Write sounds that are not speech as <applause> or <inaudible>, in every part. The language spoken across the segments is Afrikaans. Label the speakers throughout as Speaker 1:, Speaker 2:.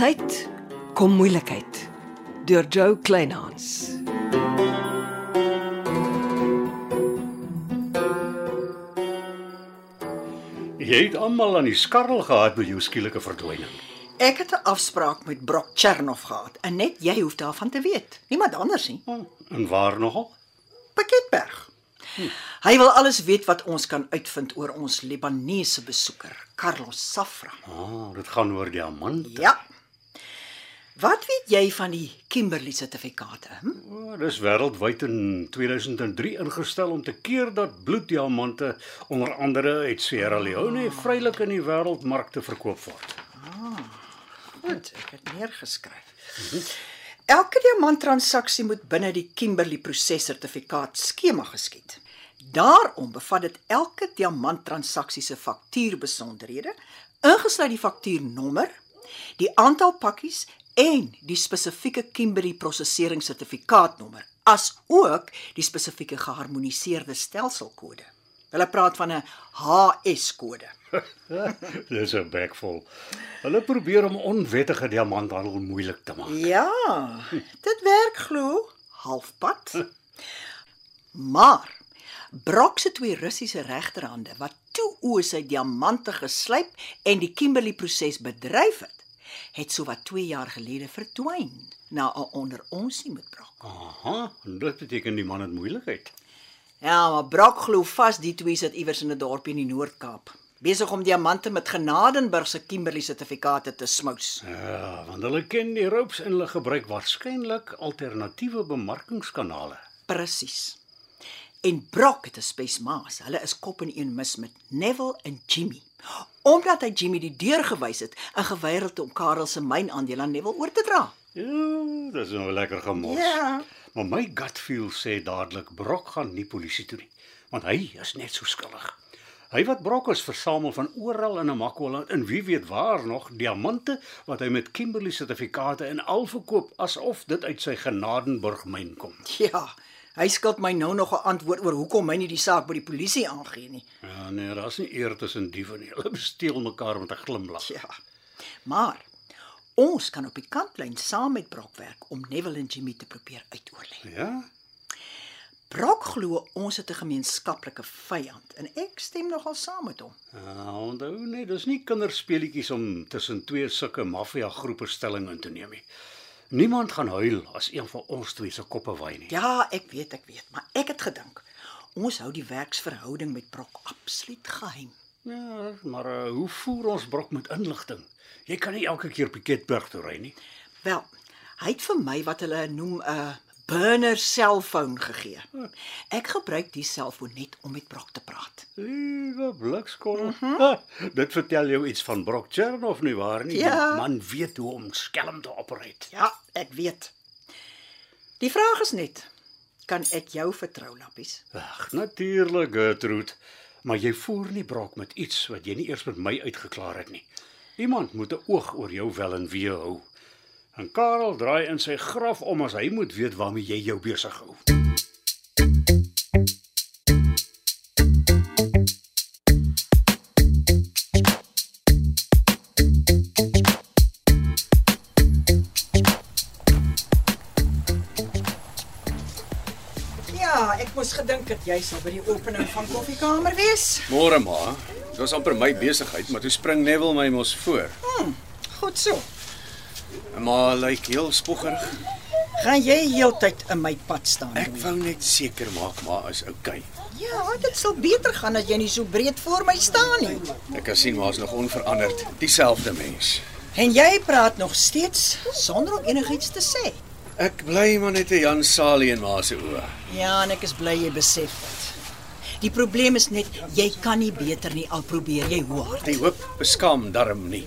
Speaker 1: tyd kom moeilikheid deur Joe Kleinhans.
Speaker 2: Jy het almal aan die skarrel gehad met jou skielike verdwyning.
Speaker 3: Ek het 'n afspraak met Brock Chernoff gehad en net jy hoef daarvan te weet. Niemand anders nie.
Speaker 2: Oh, en waar nogal?
Speaker 3: Pakketberg.
Speaker 1: Hm.
Speaker 3: Hy wil alles weet wat ons kan uitvind oor ons Libanese besoeker, Carlos Safra.
Speaker 2: Ah, dit gaan oor diamante.
Speaker 3: Ja. Wat weet jy van die Kimberley sertifikate? Hm?
Speaker 2: Oh, dis wêreldwyd in 2003 ingestel om te keer dat bloeddiamante onder andere uit Sierra Leone vrylik in die wêreldmarkte verkoop word. <laughs>
Speaker 3: Goed, ek het neergeskryf. Elke diamanttransaksie moet binne die Kimberley prosessertifikaat skema geskied. Daarom bevat dit elke diamanttransaksie se faktuurbesonderhede, ingesluit die faktuurnommer, die aantal pakkies en die spesifieke Kimberley proseseringssertifikaatnommer, asook die spesifieke geharmoniseerde stelselkode. Hulle praat van 'n HS-kode.
Speaker 2: Dis 'n bekvol. Hulle probeer om onwettige diamanthandel moeilik te maak.
Speaker 3: Ja, dit werk glo halfpad. Maar Brock se twee Russiese regterhande wat toe oë sy diamante geslyp en die Kimberley proses bedryf het, het sowat 2 jaar gelede verdwyn na 'n onder onsie met Brock.
Speaker 2: Aha, en dit beteken die man het moeilikheid.
Speaker 3: Ja, maar Brock glo vas die twee sit iewers in 'n dorpie in die Noord-Kaap, besig om diamante met Genadenburg se Kimberley sertifikate te smous.
Speaker 2: Ja, want hulle ken die ropes en hulle gebruik waarskynlik alternatiewe bemarkingskanale.
Speaker 3: Presies. En Brock het 'n spesmaas. Hulle is kop in een mis met Neville en Jimmy. Omdat hy Jimmy die deur gewys het en geweier het om Karel se mynaandeel aan Neville oor te dra.
Speaker 2: Ja, dis nou lekker gemors.
Speaker 3: Ja.
Speaker 2: Maar my gut feel sê dadelik Brok gaan nie polisie toe nie, want hy is net so skuldig. Hy wat Brok is versamel van oral in Namakoland en wie weet waar nog diamante wat hy met Kimberley sertifikate en al verkoop asof dit uit sy Genadenburg myn kom.
Speaker 3: Ja, hy skuld my nou nog 'n antwoord oor hoekom hy nie die saak by die polisie aangee nie.
Speaker 2: Ja, nee, daar's nie eer tussen diewe nie. Hulle <laughs> besteel mekaar met 'n glimlag.
Speaker 3: Ja. Maar ons kan op die kantlyn saam met Brock werk om Neville en Jimmy te probeer uitoorlei.
Speaker 2: Ja?
Speaker 3: Brock glo ons het 'n gemeenskaplike vyand en ek stem nogal saam met hom.
Speaker 2: Ja, onthou net, dis nie kinderspeletjies om tussen twee sulke maffia groepe stelling in te neem nie. Niemand gaan huil as een van ons twee se koppe waai nie.
Speaker 3: Ja, ek weet, ek weet, maar ek het gedink ons hou die werksverhouding met Brock absoluut geheim.
Speaker 2: Ja, maar uh, hoe voer ons brok met inligting? Jy kan nie elke keer Piketberg toe ry nie.
Speaker 3: Wel, hy het vir my wat hulle noem 'n burner selfoon gegee. Hm, Ek gebruik die selfoon net om met Brock te praat.
Speaker 2: Liewe blikskorrel. Uh -huh. Dit vertel jou iets van Brok Chernoff nie waar nie?
Speaker 3: Ja.
Speaker 2: Die Man weet hoe om skelm te operate.
Speaker 3: Ja, ek weet. Die vraag is net, kan ek jou vertrou, Lappies?
Speaker 2: Ag, natuurlik, Gertrude. Maar jy voer nie brok met iets wat jy nie eers met my uitgeklaar het nie. Iemand moet 'n oog oor jou wel en wee hou. En Karel draai in sy graf om as hy moet weet waarmee jy jou besig hou.
Speaker 3: Ja, ek moes gedink dat jy sal by die opening van koffiekamer wees.
Speaker 4: Môre ma. Dit was amper my besigheid, maar toe spring Neville my mos voor.
Speaker 3: Goed so.
Speaker 4: Ma lyk heel spoggerig.
Speaker 3: Gaan jy heeltyd in my pad staan?
Speaker 4: Ek wou net seker maak ma is oukei.
Speaker 3: Ja, dit sal beter gaan as jy nie so breed voor my staan nie.
Speaker 4: Ek kan sien ma's nog onveranderd, dieselfde mens.
Speaker 3: En jy praat nog steeds sonder om enigiets te sê.
Speaker 4: Ek bly maar net 'n Jan Salie in ma se oë.
Speaker 3: Ja, en ek is bly jy besef dit. Die probleem is net jy kan nie beter nie al probeer jy hoe hard.
Speaker 4: Die hoop beskaam darm nie.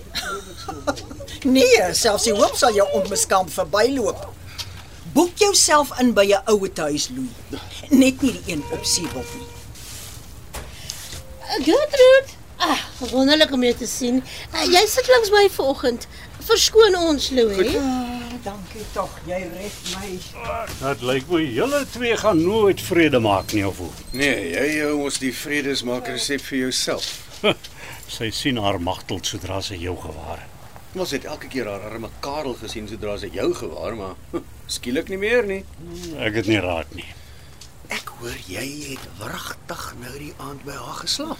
Speaker 3: Nee, selfs die hoop sal jou onbeskamp verbyloop. Boek jouself in by 'n ouer huis, Louis. Net nie die een op Seebok nie.
Speaker 5: Gertrude, ah, wonderlik om jou te sien. Uh, jy sit langs my vanoggend. Verskoon ons, Louis.
Speaker 3: Ah, dankie tog, jy red my.
Speaker 2: Dit lyk my julle twee gaan nooit vrede maak nie of hoe.
Speaker 4: Nee, jy hou ons die vredesmaak resep vir jouself.
Speaker 2: Sy sien haar magtel sodra sy jou gewaar het.
Speaker 4: Ons het elke keer haar arme Karel gesien sodra sy jou gewaar, maar hm, skielik nie meer nie.
Speaker 2: Ek het nie raak nie.
Speaker 6: Ek hoor jy het wragtig nou die aand by haar geslaap.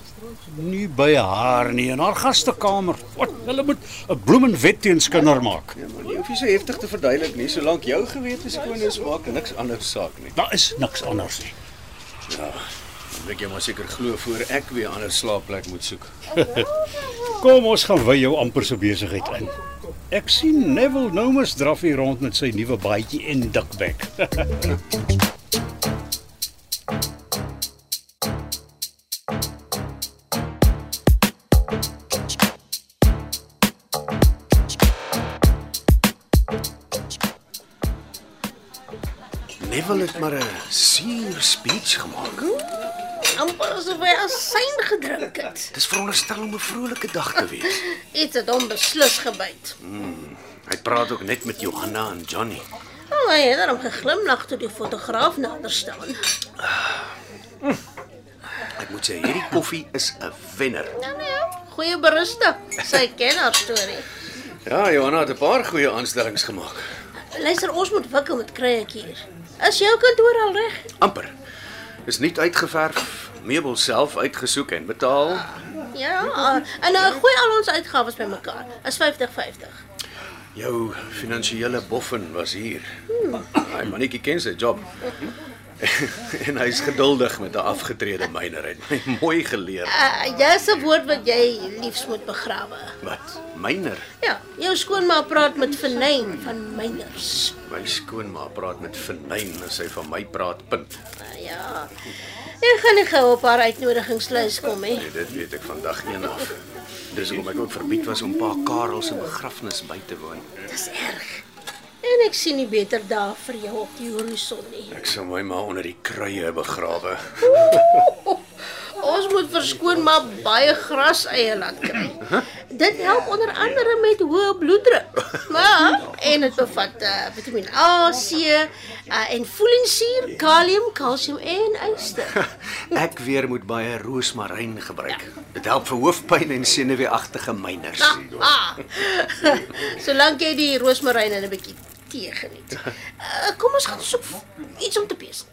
Speaker 2: Nie by haar nie in haar gastekamer. Wat, hulle moet 'n bloemenwet teens kinders maak.
Speaker 4: Ja, maar nie hoef jy so heftig te verduidelik nie. Solank jou gewete skoon is, maak niks anders saak nie.
Speaker 2: Daar is niks anders nie.
Speaker 4: Dan Moet jy maar seker glo voor ek weer 'n ander slaapplek moet soek.
Speaker 2: Kom ons gaan wy jou amper se besigheid in. Ek sien Neville Nomus draf hier rond met sy nuwe baadjie en dikbek.
Speaker 6: Neville het maar 'n suur speech gemaak.
Speaker 5: Amper asof hy asyn gedrink het.
Speaker 6: Dis veronderstel om 'n vrolike dag te wees.
Speaker 5: Iets het hom beslis gebyt.
Speaker 6: Hy praat ook net met Johanna en Johnny.
Speaker 5: Oh, hy het daarom geglimlag toe die fotograaf nader staan. Ja,
Speaker 6: Ek moet sê hierdie koffie is 'n wenner.
Speaker 5: Nou nee, goeie berusting. Sy ken haar storie.
Speaker 4: Ja, Johanna het 'n paar goeie aanstellings gemaak.
Speaker 5: Luister, ons moet wikkel met kryek hier. Is jou kantoor al reg?
Speaker 4: Amper. Is nie uitgeverf, meubels self uitgesoek en betaal.
Speaker 5: Ja, en nou gooi al ons uitgawes bymekaar. Is 50-50.
Speaker 4: Jou finansiële boffin was hier. Hy mannetjie ken sy job. <laughs> en hy's geduldig met 'n afgetrede myner en my mooi geleer.
Speaker 5: Uh, jy's 'n woord wat jy liefs moet begrawe.
Speaker 4: <laughs> Wat? Myner.
Speaker 5: Ja, jou skoonma praat met vernyn van myners.
Speaker 4: My skoonma praat met vernyn as sy van my praat. Punt.
Speaker 5: Uh, ja. Ek gaan nie gou op haar uitnodigingslys kom nie.
Speaker 4: Nee, dit weet ek vandag een af. Dis hoekom ek ook verbied was om pa Karel se begrafnis by te woon.
Speaker 5: Dis erg. En ek sien nie beter daar vir jou op die horison nie.
Speaker 4: Ek sou my ma onder die kruie begrawe.
Speaker 5: Ons moet verskoon maar baie graseie laat kry. Dit help onder andere met hoë bloeddruk. Maar en dit bevat uh, Vitamiin A, C uh, en folinsuur, kalium, kalsium en yster.
Speaker 6: Ek weer moet baie roosmaryn gebruik.
Speaker 4: Ja.
Speaker 6: Dit help vir hoofpyn en senuweeagtige myners.
Speaker 5: Ah. <laughs> Solank jy die roosmaryn en 'n bietjie tee geniet. Uh, kom ons gaan soek iets om te pees.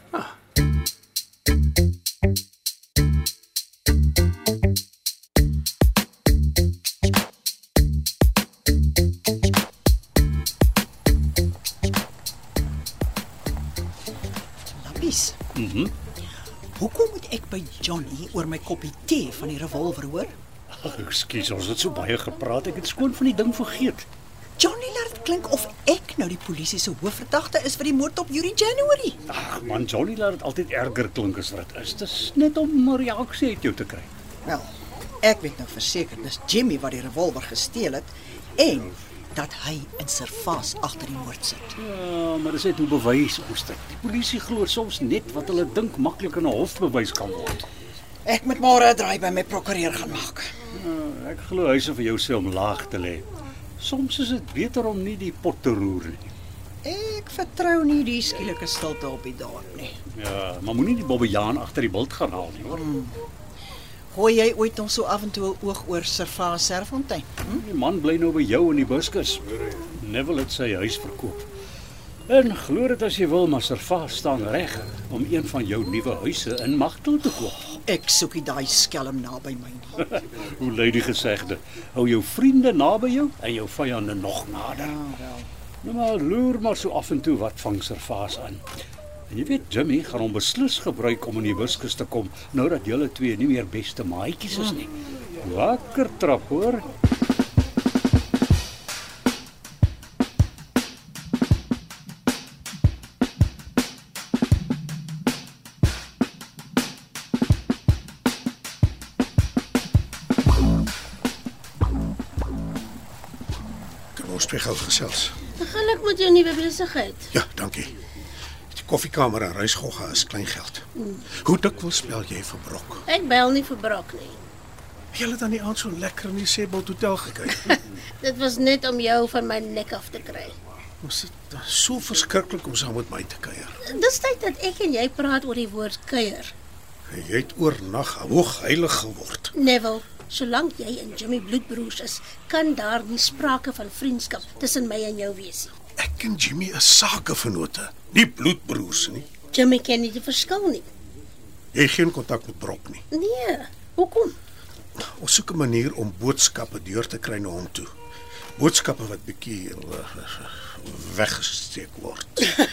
Speaker 3: Lappies. Mhm. Hoekom moet ek by Johnny oor my koppie tee van die revolver hoor?
Speaker 2: Ekskuus, ons het so baie gepraat. Ek het skoon van die ding vergeet.
Speaker 3: Johnny laat dit klink of ek nou die polisie se hoofverdagte is vir die moord op Yuri January.
Speaker 2: Ag man, Johnny laat dit altyd erger klink as wat dit is. Dis net om 'n reaksie uit jou te kry.
Speaker 3: Wel, ek weet nou verseker dis Jimmy wat die revolver gesteel het en dat hy in Servaas agter die moord sit.
Speaker 2: Ja, maar dis net hoe bewys ons dit. Die polisie glo soms net wat hulle dink maklik in 'n hof bewys kan word.
Speaker 3: Ek moet môre 'n draai by my prokureur gaan maak.
Speaker 2: Ja, ek glo hyse vir jou sê om laag te lê. Soms is dit beter om nie die pot te roer nie.
Speaker 3: Ek vertrou nie die skielike stilte op die dorp nie.
Speaker 2: Ja, maar moenie die bobbejaan agter die bult gaan haal nie, hoor.
Speaker 3: Gooi jy ooit nog so af en toe 'n oog oor Servaas Serfontein?
Speaker 2: Die man bly nou by jou in die buskus. Neville het sy huis verkoop. En glo dit as jy wil, maar Servaas staan reg om een van jou nuwe huise in Magtel te koop.
Speaker 3: Ek soek nie daai skelm naby my nie.
Speaker 2: Hoe lei die gesegde? Hou jou vriende naby jou en jou vyande nog nader. Nou maar loer maar so af en toe wat vang Servaas aan. En jy weet Jimmy gaan hom beslis gebruik om in die wiskus te kom nou dat julle twee nie meer beste maatjies is nie. Wakker trap hoor.
Speaker 7: Kan ons twee gou gesels?
Speaker 5: Geluk met jou nuwe besigheid.
Speaker 7: Ja, dankie. Die koffiekamer in Reisgogga is kleingeld. Hoe dikwels spel jy vir Brok?
Speaker 5: Ek bel nie vir brok nie.
Speaker 7: Jy het aan die aand so lekker in die Sebald Hotel gekry.
Speaker 5: Dit was net om jou van my nek af te kry.
Speaker 7: Ons het eh, so verskriklik om saam met my te kuier.
Speaker 5: Dis tyd dat ek en jy praat oor die woord kuier.
Speaker 7: En Jy het oornag hoog heilig geword.
Speaker 5: Neville, Solank jy en Jimmy bloedbroers is, kan daar nie sprake van vriendskap tussen my en jou wees nie.
Speaker 7: Ek en Jimmy is sakevennote, nie bloedbroers nie.
Speaker 5: Jimmy ken nie die verskil nie.
Speaker 7: Jy het geen kontak met Brok nie.
Speaker 5: Nee, hoekom?
Speaker 7: Ons soek 'n manier om boodskappe deur te kry na hom toe. Boodskappe wat bietjie eh, weggesteek word.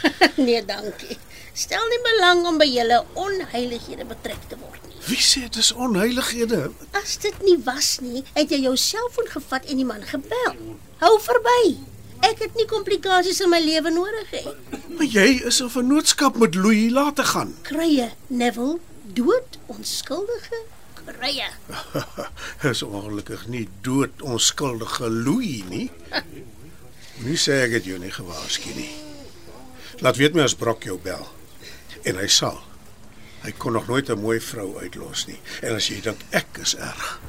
Speaker 5: <laughs> nee, dankie. Stel nie belang om by julle onheilighede betrek te word nie.
Speaker 7: Wie sê dis onheilighede?
Speaker 5: As dit nie was nie, het jy jou selfoon gevat en die man gebel. Hou verby. Ek het nie komplikasies in my lewe nodig nie.
Speaker 7: Maar jy is 'n vennootskap met Louis laat te gaan.
Speaker 5: Kruie, Neville, dood onskuldige kruie.
Speaker 7: <laughs> Is ongelukkig nie dood onskuldige Louis nie. Nu sê ek dit jou nie gewaarsku nie. Laat weet my as Brok jou bel. En hy sal. Hy kon nog nooit 'n mooi vrou uitlos nie. En as jy dink ek is erg,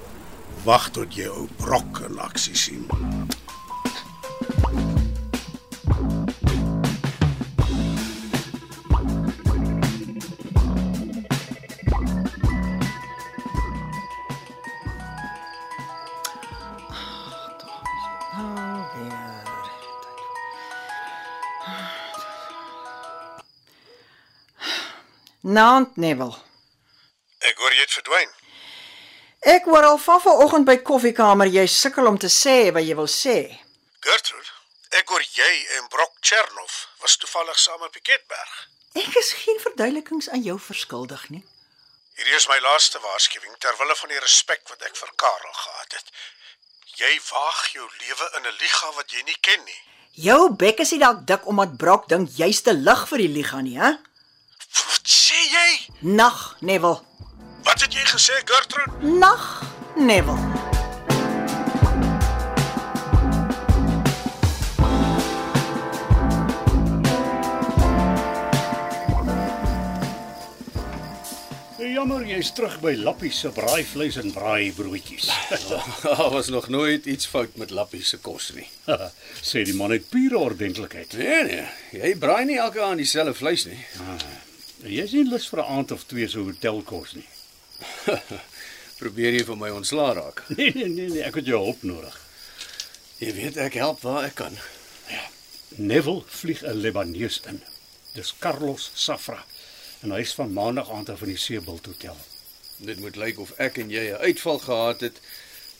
Speaker 7: wag tot jy ou Brok in aksie sien.
Speaker 3: Naand Neville.
Speaker 7: Ek hoor jy het verdwyn.
Speaker 3: Ek hoor al van vanoggend by koffiekamer jy sukkel om te sê wat jy wil sê.
Speaker 7: Gertrude, ek hoor jy en Brok Chernoff was toevallig saam op Piketberg.
Speaker 3: Ek is geen verduidelikings aan jou verskuldig nie.
Speaker 7: Hierdie is my laaste waarskuwing ter wille van die respek wat ek vir Karel gehad het. Jy waag jou lewe in 'n liga wat jy nie ken nie.
Speaker 3: Jou bek is nie dalk dik omdat Brok dink jy's te lig vir die liga nie, hè?
Speaker 7: Wat sê jy?
Speaker 3: Nag, Neville.
Speaker 7: Wat het jy gesê, Gertrude?
Speaker 3: Nag, Neville.
Speaker 2: Jammer, jy's terug by Lappie se braaivleis en braaibroodjies.
Speaker 4: <laughs> Daar was nog nooit iets fout met Lappie se kos nie.
Speaker 2: <laughs> sê die man uit pure ordentlikheid.
Speaker 4: Nee nee, jy braai nie elke aand dieselfde vleis nie.
Speaker 2: Jy's nie lus vir 'n aand of twee se hotelkos nie.
Speaker 4: Probeer jy vir my ontslaa raak?
Speaker 2: <laughs> Nee, nee, nee, nee, ek het jou hulp nodig.
Speaker 4: <laughs> Jy weet ek help waar ek kan.
Speaker 2: Neville vlieg 'n Libanees in. Dis Carlos Safra en hy's van maandag aand af in die Seebult Hotel.
Speaker 4: Dit moet lyk of ek en jy 'n uitval gehad het.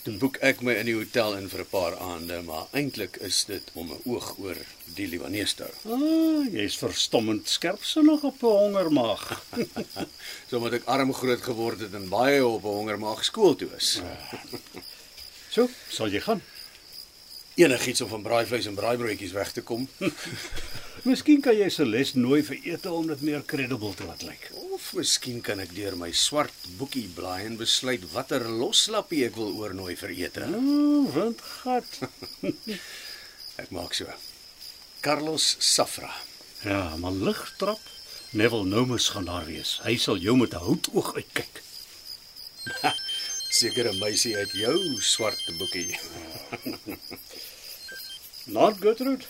Speaker 4: Toe boek ek my in die hotel in vir 'n paar aande, maar eintlik is dit om 'n oog oor die Libanees te hou.
Speaker 2: Ah, jy's verstommend skerpsinnig op 'n hongermaag.
Speaker 4: Sommige ek arm groot geword het en baie op 'n hongermaag skool toe is.
Speaker 2: So, sal jy gaan.
Speaker 4: Enigiets om van braaivleis en braaibroodjies weg te kom
Speaker 2: Miskien kan jy se les nooi vir ete om dit meer credible te laat lyk.
Speaker 4: of miskien kan ek deur my swart boekie blaai en besluit watter loslappie ek wil oornooi vir ete.
Speaker 2: Ooh, Nou, windgat.
Speaker 4: Ek maak so. Carlos Safra.
Speaker 2: Ja, maar lig trap. Neville Nomus gaan daar wees. Hy sal jou met 'n houtoog uitkyk.
Speaker 4: Sekere meisie uit jou swart boekie.
Speaker 2: Not Gertrude,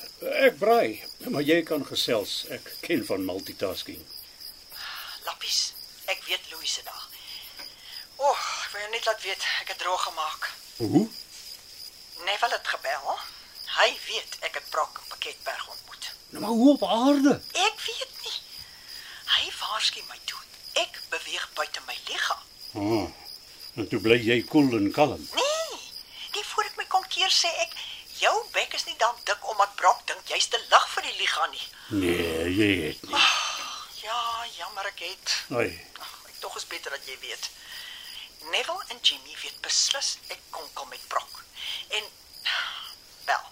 Speaker 2: ek braai, Nou, maar jy kan gesels. Ek ken van multitasking.
Speaker 3: Lappies. Ek weet Louis se dag. O, oh, ek wil jou net laat weet ek het droog gemaak.
Speaker 2: Hoe?
Speaker 3: Neville het gebel. Hy weet ek het Brok in Pakketberg ontmoet.
Speaker 2: Nou maar hoe op aarde?
Speaker 3: Ek weet nie. Hy waarsku my toe. Ek beweeg buite my liga.
Speaker 2: Ah, en toe bly jy koel en kalm.
Speaker 3: Nee. Die voor ek my kon keer sê ek jou bek is nie dalk dik omdat Brok dink jy's te lig vir die liga nie.
Speaker 2: Nee, jy het nie.
Speaker 3: Ja, jammer ek het.
Speaker 2: Ai,
Speaker 3: Ag, ek tog is beter dat jy weet. Neville en Jimmy weet beslis ek konkel met Brok. En wel.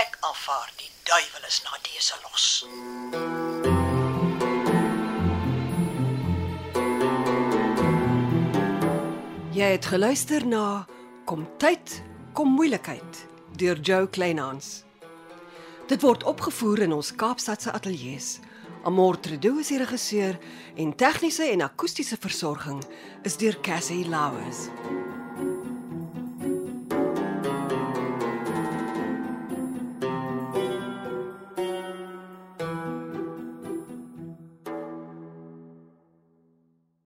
Speaker 3: Ek aanvaar die duiwel is na dese los.
Speaker 1: Jy het geluister na Kom tyd, kom moeilikheid deur Jo Kleinhans. Dit word opgevoer in ons Kaapstadse ateljee se. Amortredo is die regisseur en tegniese en akoestiese versorging is deur Cassie Lauers.